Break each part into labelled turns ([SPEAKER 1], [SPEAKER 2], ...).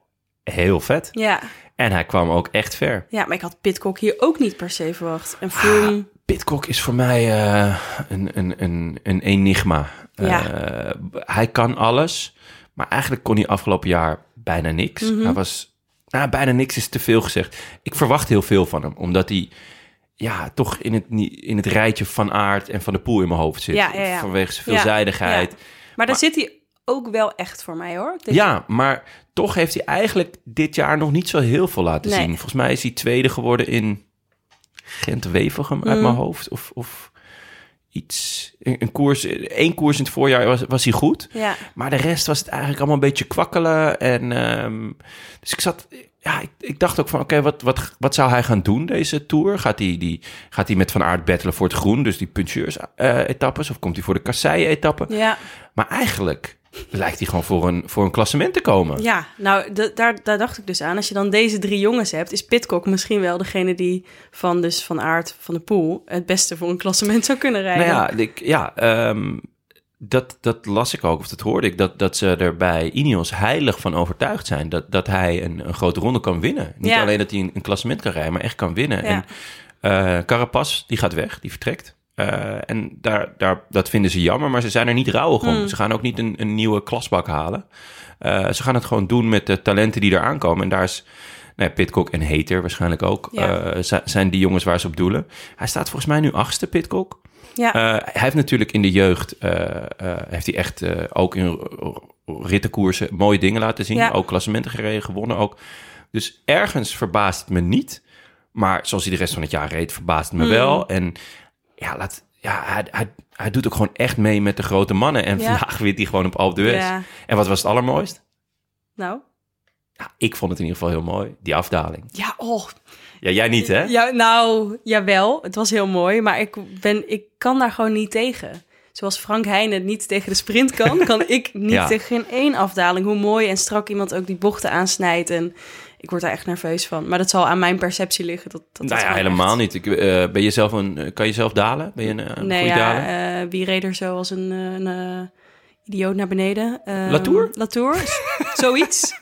[SPEAKER 1] heel vet.
[SPEAKER 2] Ja.
[SPEAKER 1] En hij kwam ook echt ver.
[SPEAKER 2] ja, maar ik had Pitcock hier ook niet per se verwacht.
[SPEAKER 1] Ah.
[SPEAKER 2] En Froome,
[SPEAKER 1] Pitcock is voor mij eh, een, een, een, een enigma.
[SPEAKER 2] Ja.
[SPEAKER 1] Eh, hij kan alles, maar eigenlijk kon hij afgelopen jaar bijna niks.
[SPEAKER 2] Mhm.
[SPEAKER 1] Hij was, nou, bijna niks is te veel gezegd. Ik verwacht heel veel van hem, omdat hij ja, toch in het, ni- in het rijtje van aard en van de poel in mijn hoofd zit.
[SPEAKER 2] Ja, ja, ja.
[SPEAKER 1] Vanwege zijn
[SPEAKER 2] Ja,
[SPEAKER 1] veelzijdigheid.
[SPEAKER 2] ja. maar, daar zit hij ook wel echt voor mij hoor. Ik denk-
[SPEAKER 1] Ja, maar toch heeft hij eigenlijk dit jaar nog niet zo heel veel laten
[SPEAKER 2] Nee.
[SPEAKER 1] zien. Volgens mij is hij tweede geworden in Gent-Wevelgem uit
[SPEAKER 2] Mm.
[SPEAKER 1] mijn hoofd. Of, of iets. Een, een koers, één koers in het voorjaar was, was hij goed.
[SPEAKER 2] Ja,
[SPEAKER 1] Maar de rest was het eigenlijk allemaal een beetje kwakkelen. En, ehm, dus ik zat... Ja, ik, ik dacht ook van, oké, wat, wat, wat zou hij gaan doen deze Tour? Gaat hij, die, gaat hij met Van Aert battelen voor het groen, dus die puncheurs-etappes? of komt hij voor de kasseien-etappen?
[SPEAKER 2] ja.
[SPEAKER 1] Maar eigenlijk lijkt hij gewoon voor een, voor een klassement te komen.
[SPEAKER 2] ja. nou d- daar, daar dacht ik dus aan. Als je dan deze drie jongens hebt, is Pitcock misschien wel degene die van, dus van Aard van de Poel het beste voor een klassement zou kunnen rijden.
[SPEAKER 1] Nou ja, ik, ja ehm, dat, dat las ik ook, of dat hoorde ik, dat, dat ze er bij Ineos heilig van overtuigd zijn dat, dat hij een, een grote ronde kan winnen. Niet
[SPEAKER 2] Ja.
[SPEAKER 1] alleen dat hij een, een klassement kan rijden, maar echt kan winnen.
[SPEAKER 2] Ja.
[SPEAKER 1] En eh Carapaz, die gaat weg, die vertrekt. Eh, en daar, daar, dat vinden ze jammer, maar ze zijn er niet rauwig om. Ze gaan ook niet een, een nieuwe klasbak halen. Eh, ze gaan het gewoon doen met de talenten die er aankomen. En daar is nou ja, Pitcock en Hater waarschijnlijk ook.
[SPEAKER 2] Ja.
[SPEAKER 1] eh, zi- zijn die jongens waar ze op doelen. Hij staat volgens mij nu achtste, Pitcock.
[SPEAKER 2] ja.
[SPEAKER 1] Eh, hij heeft natuurlijk in de jeugd, eh, eh, heeft hij echt eh, ook in r- rittenkoersen mooie dingen laten zien.
[SPEAKER 2] Ja.
[SPEAKER 1] Ook klassementen gereden, gewonnen ook. Dus ergens verbaast het me niet. Maar zoals hij de rest van het jaar reed, verbaast
[SPEAKER 2] Mm.
[SPEAKER 1] het me wel. En ja, laat, ja hij, hij, hij doet ook gewoon echt mee met de grote mannen. En
[SPEAKER 2] Ja.
[SPEAKER 1] vandaag wint hij gewoon op Alpe d'Huez.
[SPEAKER 2] Ja.
[SPEAKER 1] En wat was het allermooist?
[SPEAKER 2] Nou.
[SPEAKER 1] Ja, ik vond het in ieder geval heel mooi, die afdaling.
[SPEAKER 2] Ja, oh.
[SPEAKER 1] Ja, jij niet, hè?
[SPEAKER 2] Ja, nou, jawel. Het was heel mooi. Maar ik, ben, ik kan daar gewoon niet tegen. Zoals Frank Heijnen niet tegen de sprint kan, kan ik niet
[SPEAKER 1] Ja.
[SPEAKER 2] tegen geen één afdaling. Hoe mooi en strak iemand ook die bochten aansnijdt. En ik word daar echt nerveus van. Maar dat zal aan mijn perceptie liggen. Dat, dat dat
[SPEAKER 1] nou ja,
[SPEAKER 2] gewoon
[SPEAKER 1] helemaal
[SPEAKER 2] echt-
[SPEAKER 1] niet. Ik, eh, ben je zelf een, eh, kan je zelf dalen? Ben je een, eh, een
[SPEAKER 2] nee,
[SPEAKER 1] goede
[SPEAKER 2] ja,
[SPEAKER 1] daler?
[SPEAKER 2] eh, wie reed er zo als een, eh, een eh, idioot naar beneden? Eh,
[SPEAKER 1] Latour?
[SPEAKER 2] Latour, zoiets.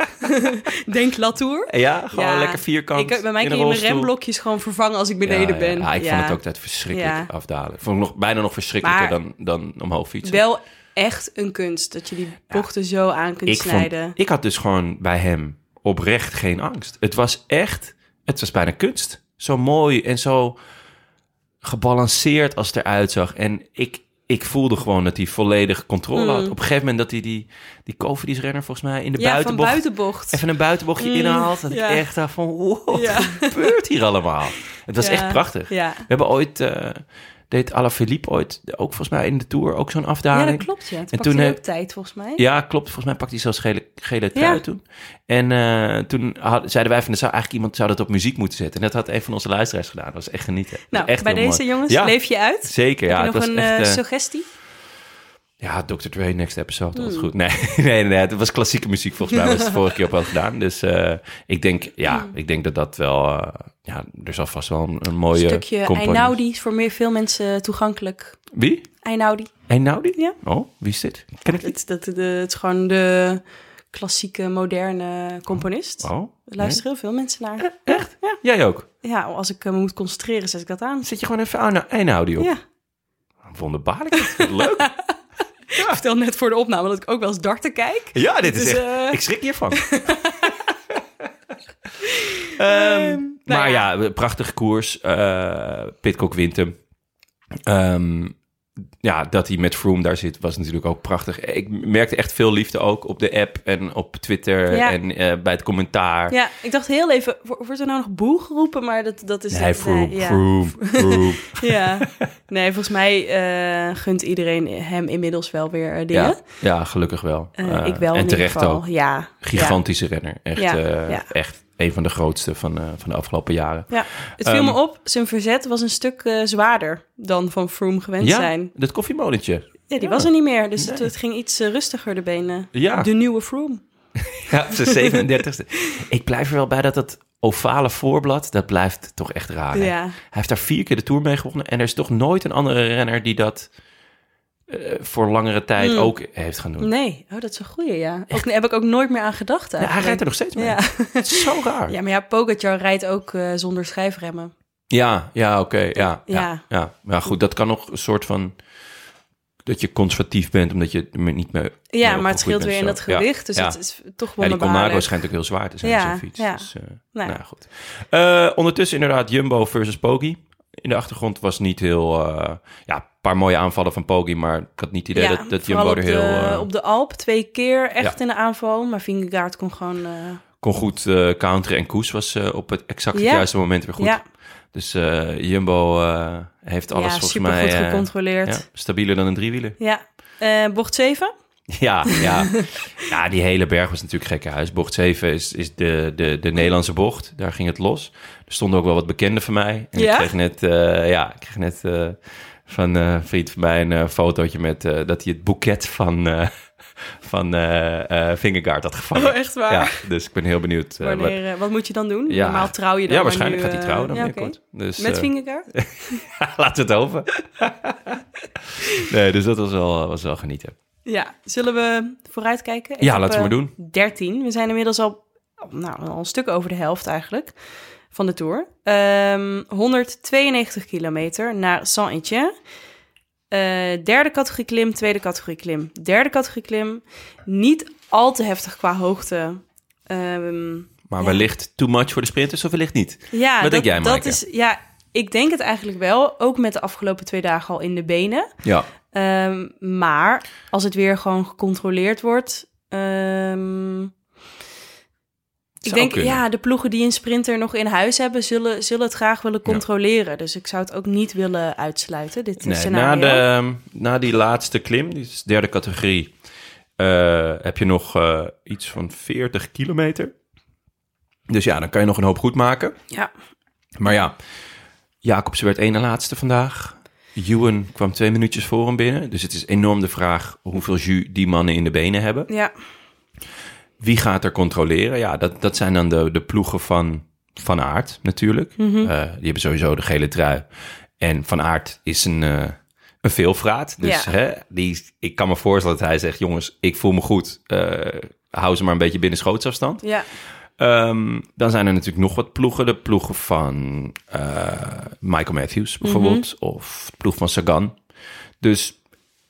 [SPEAKER 2] Denk Latour.
[SPEAKER 1] ja, gewoon
[SPEAKER 2] ja,
[SPEAKER 1] lekker vierkant.
[SPEAKER 2] Ik, bij mij
[SPEAKER 1] in
[SPEAKER 2] kun
[SPEAKER 1] een
[SPEAKER 2] je mijn
[SPEAKER 1] rolstoel.
[SPEAKER 2] remblokjes gewoon vervangen als ik beneden
[SPEAKER 1] Ja, ja.
[SPEAKER 2] ben.
[SPEAKER 1] Ja, ik vond het ook altijd verschrikkelijk
[SPEAKER 2] Ja.
[SPEAKER 1] afdalen. Vond ik nog, bijna nog verschrikkelijker
[SPEAKER 2] Maar-
[SPEAKER 1] dan, dan omhoog fietsen.
[SPEAKER 2] Wel echt een kunst dat je die bochten zo aan kunt
[SPEAKER 1] ik, vond,
[SPEAKER 2] snijden.
[SPEAKER 1] ik had dus gewoon bij hem oprecht geen angst. Het was echt, het was bijna kunst. Zo mooi en zo gebalanceerd als het eruit zag. En ik, ik voelde gewoon dat hij volledig controle had. Op een gegeven moment dat hij die, die renner volgens mij in de
[SPEAKER 2] Mm. ja, van
[SPEAKER 1] buitenbocht
[SPEAKER 2] buitenbocht.
[SPEAKER 1] even een buitenbochtje inhaalt. Dat
[SPEAKER 2] ja.
[SPEAKER 1] ik echt dacht van, wow, wat
[SPEAKER 2] Ja.
[SPEAKER 1] gebeurt hier allemaal? Het was
[SPEAKER 2] Ja,
[SPEAKER 1] echt prachtig.
[SPEAKER 2] ja.
[SPEAKER 1] We hebben ooit, eh deed Alaphilippe ooit, ook volgens mij in de Tour, ook zo'n
[SPEAKER 2] Ja,
[SPEAKER 1] afdaling.
[SPEAKER 2] dat klopt. Ja. Het
[SPEAKER 1] En
[SPEAKER 2] pakte
[SPEAKER 1] toen
[SPEAKER 2] hij
[SPEAKER 1] heb-
[SPEAKER 2] ook tijd volgens mij.
[SPEAKER 1] Ja, klopt. Volgens mij pakte hij zelfs gele, gele trui
[SPEAKER 2] Ja.
[SPEAKER 1] toen. En eh, toen had- zeiden wij van, er zou eigenlijk iemand zou dat op muziek moeten zetten. En dat had een van onze luisteraars gedaan. Dat was echt genieten. Dat was
[SPEAKER 2] nou,
[SPEAKER 1] echt
[SPEAKER 2] bij
[SPEAKER 1] heel
[SPEAKER 2] deze
[SPEAKER 1] mooi.
[SPEAKER 2] jongens
[SPEAKER 1] Ja,
[SPEAKER 2] leef je uit.
[SPEAKER 1] Zeker, ja.
[SPEAKER 2] Heb
[SPEAKER 1] Het
[SPEAKER 2] je nog
[SPEAKER 1] was
[SPEAKER 2] een
[SPEAKER 1] echt,
[SPEAKER 2] eh,
[SPEAKER 1] eh,
[SPEAKER 2] suggestie?
[SPEAKER 1] ja, Dr. Dre next episode, dat was goed. Nee, nee, nee, het was klassieke muziek volgens mij, was het vorige keer ook wel gedaan. Dus eh, ik denk, ja,
[SPEAKER 2] Mm.
[SPEAKER 1] ik denk dat dat wel, eh, ja, er zal vast wel een, een mooie
[SPEAKER 2] Stukje
[SPEAKER 1] component-
[SPEAKER 2] Einaudi is voor meer, veel mensen toegankelijk.
[SPEAKER 1] Wie?
[SPEAKER 2] Einaudi.
[SPEAKER 1] Einaudi?
[SPEAKER 2] Ja.
[SPEAKER 1] Oh, wie is dit? Ken ik niet?
[SPEAKER 2] Het, dat, de, het is gewoon de klassieke, moderne componist.
[SPEAKER 1] Oh,
[SPEAKER 2] Er
[SPEAKER 1] nee.
[SPEAKER 2] luisteren heel veel mensen naar.
[SPEAKER 1] Jij ook?
[SPEAKER 2] Ja, als ik eh, me moet concentreren, zet ik dat aan.
[SPEAKER 1] Zet je gewoon even aan Einaudi op?
[SPEAKER 2] Ja.
[SPEAKER 1] Wonderbaarlijk, Ik vind het leuk.
[SPEAKER 2] Ik vertel net voor de opname dat ik ook wel eens darten kijk.
[SPEAKER 1] Ja, dit is
[SPEAKER 2] Dus,
[SPEAKER 1] echt...
[SPEAKER 2] eh,
[SPEAKER 1] Ik schrik hiervan. Ehm,
[SPEAKER 2] Nou
[SPEAKER 1] maar ja. prachtig koers. eh Pitcock wint hem. Ehm, ja, dat hij met Froome daar zit was natuurlijk ook prachtig. Ik merkte echt veel liefde ook op de app en op Twitter
[SPEAKER 2] Ja.
[SPEAKER 1] en eh, bij het commentaar.
[SPEAKER 2] Ja, ik dacht heel even, wo- wordt er nou nog boe geroepen? Maar dat, dat is...
[SPEAKER 1] Nee, Froome,
[SPEAKER 2] ja.
[SPEAKER 1] Froome, Froome.
[SPEAKER 2] Ja. Nee, volgens mij eh, gunt iedereen hem inmiddels wel weer eh, dingen.
[SPEAKER 1] ja, ja, gelukkig wel.
[SPEAKER 2] Eh,
[SPEAKER 1] Eh,
[SPEAKER 2] ik wel
[SPEAKER 1] en
[SPEAKER 2] in ieder
[SPEAKER 1] terecht
[SPEAKER 2] geval.
[SPEAKER 1] ook.
[SPEAKER 2] Ja.
[SPEAKER 1] Gigantische renner. Echt,
[SPEAKER 2] Ja,
[SPEAKER 1] eh,
[SPEAKER 2] ja.
[SPEAKER 1] echt een van de grootste van, eh, van de afgelopen jaren.
[SPEAKER 2] Ja. ja. Het viel
[SPEAKER 1] Ehm,
[SPEAKER 2] me op, zijn verzet was een stuk eh, zwaarder dan van Froome gewend zijn.
[SPEAKER 1] dat koffiemolentje.
[SPEAKER 2] Ja, die was er niet meer. Dus het,
[SPEAKER 1] Nee.
[SPEAKER 2] het ging iets eh, rustiger, de benen.
[SPEAKER 1] Ja.
[SPEAKER 2] De nieuwe Froome.
[SPEAKER 1] Ja, op zijn 37ste. Ik blijf er wel bij dat dat ovale voorblad, dat blijft toch echt raar. hè?
[SPEAKER 2] Ja.
[SPEAKER 1] Hij heeft daar vier keer de Tour mee gewonnen. En er is toch nooit een andere renner die dat eh, voor langere tijd
[SPEAKER 2] Hmm.
[SPEAKER 1] ook heeft gaan doen.
[SPEAKER 2] Nee, oh, dat is een goeie, ja. Ook, daar heb ik ook nooit meer aan gedacht
[SPEAKER 1] Ja, hij
[SPEAKER 2] eigenlijk.
[SPEAKER 1] rijdt er nog steeds mee.
[SPEAKER 2] Ja.
[SPEAKER 1] Het is zo raar. Ja,
[SPEAKER 2] Ja, maar ja, Pogacar rijdt ook eh, zonder schijfremmen.
[SPEAKER 1] ja, oké. ja, ja.
[SPEAKER 2] Ja.
[SPEAKER 1] Ja. Maar goed, dat kan nog een soort van... Dat je conservatief bent, omdat je er niet meer...
[SPEAKER 2] Ja,
[SPEAKER 1] mee
[SPEAKER 2] maar het scheelt
[SPEAKER 1] opgegroeid
[SPEAKER 2] weer in dat
[SPEAKER 1] bent of zo. Ja,
[SPEAKER 2] gewicht. Dus
[SPEAKER 1] ja.
[SPEAKER 2] het is toch
[SPEAKER 1] Ja, die Colnago
[SPEAKER 2] wonderbaarlijk.
[SPEAKER 1] schijnt ook heel zwaar te zijn
[SPEAKER 2] Ja,
[SPEAKER 1] op zijn fiets.
[SPEAKER 2] ja.
[SPEAKER 1] Dus, eh,
[SPEAKER 2] Nou
[SPEAKER 1] nou,
[SPEAKER 2] ja.
[SPEAKER 1] ja, goed. Eh, ondertussen inderdaad Jumbo versus Poggi. In de achtergrond was niet heel... eh, ja, een paar mooie aanvallen van Poggi, maar ik had niet het idee
[SPEAKER 2] Ja,
[SPEAKER 1] dat, dat
[SPEAKER 2] vooral
[SPEAKER 1] Jumbo er heel...
[SPEAKER 2] op de,
[SPEAKER 1] eh,
[SPEAKER 2] op de Alp twee keer echt
[SPEAKER 1] Ja.
[SPEAKER 2] in de aanval. Maar Vingegaard kon gewoon... eh,
[SPEAKER 1] kon goed eh, counteren en Koes was eh, op het exact het
[SPEAKER 2] Ja.
[SPEAKER 1] juiste moment weer goed.
[SPEAKER 2] Ja,
[SPEAKER 1] Dus eh, Jumbo eh, heeft alles
[SPEAKER 2] ja
[SPEAKER 1] volgens
[SPEAKER 2] supergoed
[SPEAKER 1] mij... eh,
[SPEAKER 2] gecontroleerd.
[SPEAKER 1] ja, stabieler dan een driewieler.
[SPEAKER 2] Ja. Eh, bocht 7.
[SPEAKER 1] Ja, ja. ja, die hele berg was natuurlijk gekke huis. Bocht 7 is, is de, de, de Nederlandse bocht. Daar ging het los. Er stonden ook wel wat bekenden van mij. En
[SPEAKER 2] Ja?
[SPEAKER 1] ik kreeg net, eh, ja, ik kreeg net eh, van eh, een vriend van mij een eh, fotootje met eh, dat hij het boeket van, eh van eh eh Vingegaard had gevangen.
[SPEAKER 2] Oh, echt waar?
[SPEAKER 1] Ja, dus ik ben heel benieuwd. eh, wat-
[SPEAKER 2] Wanneer, eh, wat moet je dan doen?
[SPEAKER 1] ja.
[SPEAKER 2] Normaal trouw je dan.
[SPEAKER 1] Ja,
[SPEAKER 2] maar nu,
[SPEAKER 1] waarschijnlijk gaat hij
[SPEAKER 2] eh,
[SPEAKER 1] trouwen dan
[SPEAKER 2] ja, oké.
[SPEAKER 1] binnenkort. Dus,
[SPEAKER 2] Met
[SPEAKER 1] eh,
[SPEAKER 2] Vingegaard?
[SPEAKER 1] laten we het hopen. nee, dus dat was wel, was wel genieten.
[SPEAKER 2] Ja. Zullen we vooruitkijken? Ik
[SPEAKER 1] Ja,
[SPEAKER 2] heb,
[SPEAKER 1] laten we
[SPEAKER 2] eh,
[SPEAKER 1] maar
[SPEAKER 2] 13. We zijn inmiddels al, nou, al een stuk over de helft eigenlijk van de Tour. Ehm, 192 kilometer naar Saint-Étienne. Eh, derde categorie klim, tweede categorie klim. Derde categorie klim, niet al te heftig qua hoogte. Ehm,
[SPEAKER 1] Maar
[SPEAKER 2] Ja.
[SPEAKER 1] wellicht too much voor de sprinters of wellicht niet.
[SPEAKER 2] ja,
[SPEAKER 1] Wat
[SPEAKER 2] dat,
[SPEAKER 1] denk jij,
[SPEAKER 2] dat
[SPEAKER 1] Maaike?
[SPEAKER 2] is Ja, ik denk het eigenlijk wel. Ook met de afgelopen twee dagen al in de benen.
[SPEAKER 1] Ja.
[SPEAKER 2] Ehm, maar als het weer gewoon gecontroleerd wordt, ehm, Ik
[SPEAKER 1] Zou
[SPEAKER 2] denk,
[SPEAKER 1] kunnen.
[SPEAKER 2] ja, de ploegen die een sprinter nog in huis hebben, zullen, zullen het graag willen controleren. Dus ik zou het ook niet willen uitsluiten, dit eh,
[SPEAKER 1] Nee, na,
[SPEAKER 2] scenario.
[SPEAKER 1] de, na die laatste klim, die is de derde categorie, eh, heb je nog eh, iets van 40 kilometer. Dus ja, dan kan je nog een hoop goed maken.
[SPEAKER 2] Ja,
[SPEAKER 1] Maar ja, Jacobsen werd één na laatste vandaag. Ewan kwam twee minuutjes voor hem binnen. Dus het is enorm de vraag hoeveel jus die mannen in de benen hebben.
[SPEAKER 2] ja,
[SPEAKER 1] Wie gaat er controleren? Ja, dat, dat zijn dan de, de ploegen van Van Aert natuurlijk. Eh, die hebben sowieso de gele trui. En Van Aert is een, eh een veelvraat. Dus
[SPEAKER 2] Ja.
[SPEAKER 1] hè, die, ik kan me voorstellen dat hij zegt... jongens, ik voel me goed. Eh, hou ze maar een beetje binnen schootsafstand.
[SPEAKER 2] ja.
[SPEAKER 1] Ehm, dan zijn er natuurlijk nog wat ploegen. De ploegen van eh, Michael Matthews bijvoorbeeld.
[SPEAKER 2] Mhm.
[SPEAKER 1] Of de ploeg van Sagan. Dus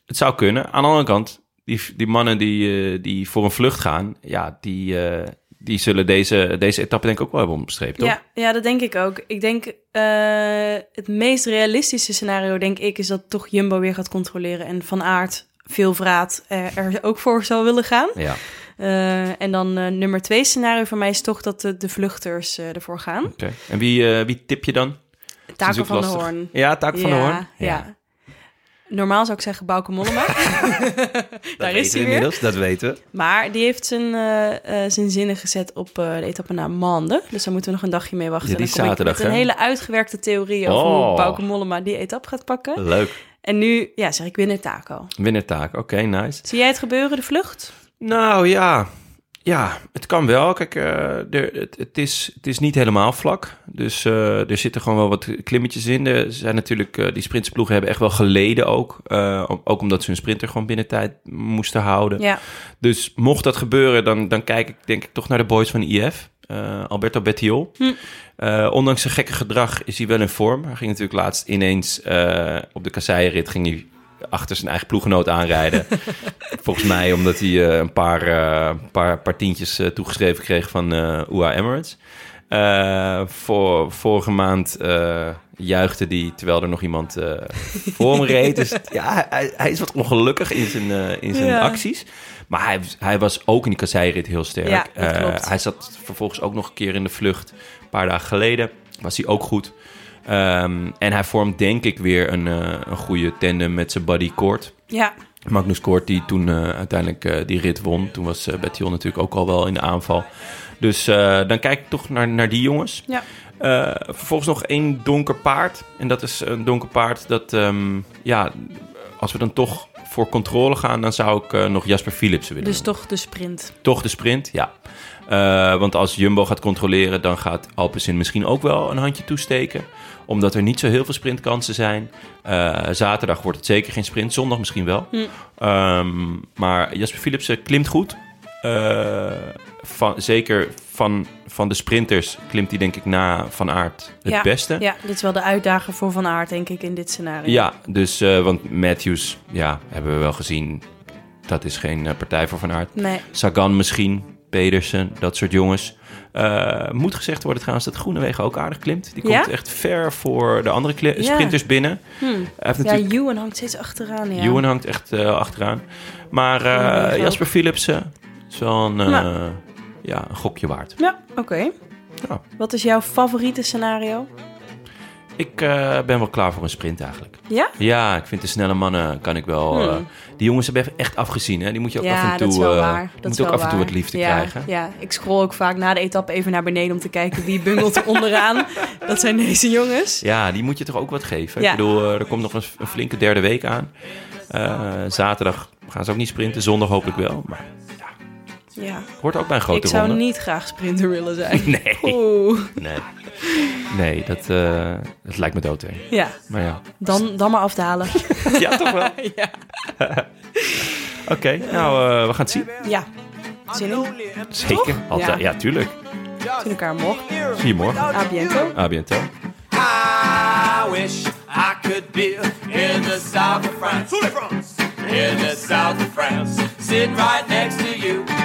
[SPEAKER 1] het zou kunnen. Aan de andere kant, die, die mannen die, eh, die voor een vlucht gaan... Ja, die, eh, die zullen deze, deze etappe denk ik ook wel hebben omstreept, toch?
[SPEAKER 2] Ja, ja, dat denk ik ook. Ik denk eh, het meest realistische scenario, denk ik, is dat toch Jumbo weer gaat controleren en Van Aert veel vraat eh, er ook voor zou willen gaan.
[SPEAKER 1] Ja.
[SPEAKER 2] Eh, en dan eh, nummer twee scenario voor mij is toch dat de, de vluchters eh, ervoor gaan.
[SPEAKER 1] Oké. En wie, eh, wie tip je dan? Dat is
[SPEAKER 2] Taco
[SPEAKER 1] ook
[SPEAKER 2] van de
[SPEAKER 1] lastig.
[SPEAKER 2] Hoorn.
[SPEAKER 1] Ja, Taco van de Hoorn.
[SPEAKER 2] Ja, ja. Normaal zou ik zeggen Bauke Mollema. Daar is hij weer.
[SPEAKER 1] inmiddels, dat weten we.
[SPEAKER 2] Maar die heeft zijn, eh, eh, zijn zinnen gezet op eh, de etappe na maanden. Dus daar moeten we nog een dagje mee wachten.
[SPEAKER 1] Ja, die
[SPEAKER 2] En dan kom ik
[SPEAKER 1] zaterdag,
[SPEAKER 2] met een
[SPEAKER 1] hè?
[SPEAKER 2] hele uitgewerkte theorie over
[SPEAKER 1] Oh.
[SPEAKER 2] hoe Bauke Mollema die etappe gaat pakken.
[SPEAKER 1] Leuk.
[SPEAKER 2] En nu ja, zeg ik winnaar Taco.
[SPEAKER 1] Winnertaak, oké, nice.
[SPEAKER 2] Zie jij het gebeuren, de vlucht?
[SPEAKER 1] Nou ja, ja het kan wel. Kijk, eh, er, het, het, is, het is niet helemaal vlak. Dus eh, er zitten gewoon wel wat klimmetjes in. Er zijn natuurlijk, eh, die sprintsploegen hebben echt wel geleden ook. Eh, om- ook omdat ze hun sprinter gewoon binnen tijd moesten houden.
[SPEAKER 2] Ja,
[SPEAKER 1] Dus mocht dat gebeuren, dan, dan kijk ik denk ik toch naar de boys van IF. eh, Alberto Bettiol. Eh, ondanks zijn gekke gedrag is hij wel in vorm. Hij ging natuurlijk laatst ineens eh, op de kasseienrit... ging hij achter zijn eigen ploeggenoot aanrijden. Volgens mij omdat hij eh, een paar, eh, paar, paar tientjes eh, toegeschreven kreeg van eh UAE Emirates. Eh, voor, vorige maand eh, juichte hij terwijl er nog iemand eh voor hem reed. Dus ja, hij, hij is wat ongelukkig in zijn, eh, in zijn
[SPEAKER 2] Ja.
[SPEAKER 1] acties. Maar hij, hij was ook in die kasseirit heel sterk.
[SPEAKER 2] Ja, dat
[SPEAKER 1] Eh,
[SPEAKER 2] klopt.
[SPEAKER 1] hij zat vervolgens ook nog een keer in de vlucht. Een paar dagen geleden was hij ook goed. Ehm, en hij vormt denk ik weer een, eh, een goede tandem met zijn buddy Koort.
[SPEAKER 2] ja,
[SPEAKER 1] Magnus Koort die toen eh, uiteindelijk eh, die rit won. Toen was eh Bettiol natuurlijk ook al wel in de aanval. Dus eh, dan kijk ik toch naar, naar die jongens.
[SPEAKER 2] ja.
[SPEAKER 1] Eh, vervolgens nog één donker paard. En dat is een donker paard dat, ehm, ja, als we dan toch voor controle gaan, dan zou ik eh, nog Jasper Philips willen.
[SPEAKER 2] Dus
[SPEAKER 1] noemen.
[SPEAKER 2] toch de sprint.
[SPEAKER 1] Toch de sprint, ja. Eh, want als Jumbo gaat controleren, dan gaat Alpecin misschien ook wel een handje toesteken. Omdat er niet zo heel veel sprintkansen zijn. Eh, zaterdag wordt het zeker geen sprint, zondag misschien wel.
[SPEAKER 2] Hm.
[SPEAKER 1] Ehm, maar Jasper Philipsen klimt goed. Eh, van, zeker van, van de sprinters klimt hij denk ik na Van Aert het
[SPEAKER 2] ja.
[SPEAKER 1] beste.
[SPEAKER 2] Ja, dit is wel de uitdaging voor Van Aert, denk ik, in dit scenario.
[SPEAKER 1] Ja, dus, eh, want Matthews, ja, hebben we wel gezien. Dat is geen eh, partij voor Van Aert.
[SPEAKER 2] Nee,
[SPEAKER 1] Sagan misschien, Pedersen, dat soort jongens. Eh, moet gezegd worden trouwens dat Groenewegen ook aardig klimt. Die komt
[SPEAKER 2] Ja?
[SPEAKER 1] echt ver voor de andere kli-
[SPEAKER 2] Ja.
[SPEAKER 1] sprinters binnen. Hij heeft
[SPEAKER 2] ja,
[SPEAKER 1] natuurlijk...
[SPEAKER 2] Ewan hangt steeds achteraan. Ja.
[SPEAKER 1] Ewan hangt echt eh, achteraan. Maar eh,
[SPEAKER 2] Groenewegen
[SPEAKER 1] Jasper Philipsen is wel een, eh,
[SPEAKER 2] Nou.
[SPEAKER 1] ja, een gokje waard.
[SPEAKER 2] Ja, oké.
[SPEAKER 1] Ja.
[SPEAKER 2] Wat is jouw favoriete scenario?
[SPEAKER 1] Ik eh, ben wel klaar voor een sprint eigenlijk.
[SPEAKER 2] Ja?
[SPEAKER 1] Ja, ik vind de snelle mannen kan ik wel...
[SPEAKER 2] Hmm.
[SPEAKER 1] eh, die jongens hebben echt afgezien. Hè? Die moet je ook af en toe,
[SPEAKER 2] dat is wel
[SPEAKER 1] eh,
[SPEAKER 2] waar. Dat
[SPEAKER 1] moet
[SPEAKER 2] is
[SPEAKER 1] ook
[SPEAKER 2] wel
[SPEAKER 1] af en toe
[SPEAKER 2] waar.
[SPEAKER 1] wat liefde
[SPEAKER 2] ja,
[SPEAKER 1] krijgen.
[SPEAKER 2] Ja, ik scroll ook vaak na de etappe even naar beneden om te kijken wie bungelt er onderaan. Dat zijn deze jongens.
[SPEAKER 1] Ja, die moet je toch ook wat geven.
[SPEAKER 2] Ja.
[SPEAKER 1] Ik bedoel, eh, er komt nog een, een flinke derde week aan. Eh, zaterdag gaan ze ook niet sprinten, zondag hopelijk wel. Maar
[SPEAKER 2] Ja.
[SPEAKER 1] hoort ook bij een
[SPEAKER 2] Ik
[SPEAKER 1] grote
[SPEAKER 2] zou
[SPEAKER 1] ronde.
[SPEAKER 2] niet graag sprinter willen zijn.
[SPEAKER 1] Nee.
[SPEAKER 2] Oeh.
[SPEAKER 1] Nee, nee dat, eh, dat lijkt me doodeng.
[SPEAKER 2] Ja,
[SPEAKER 1] Maar ja.
[SPEAKER 2] dan, dan maar afdalen.
[SPEAKER 1] Ja, toch wel?
[SPEAKER 2] ja.
[SPEAKER 1] Oké, nou, eh, we gaan het zien.
[SPEAKER 2] ja, zin in.
[SPEAKER 1] Zeker. Altijd.
[SPEAKER 2] Ja.
[SPEAKER 1] Ja. tuurlijk.
[SPEAKER 2] Zien elkaar morgen.
[SPEAKER 1] Zie je morgen.
[SPEAKER 2] A biento.
[SPEAKER 1] A bientôt.
[SPEAKER 3] I wish I could be in the south of France. In the south of France. Sitting right next to you.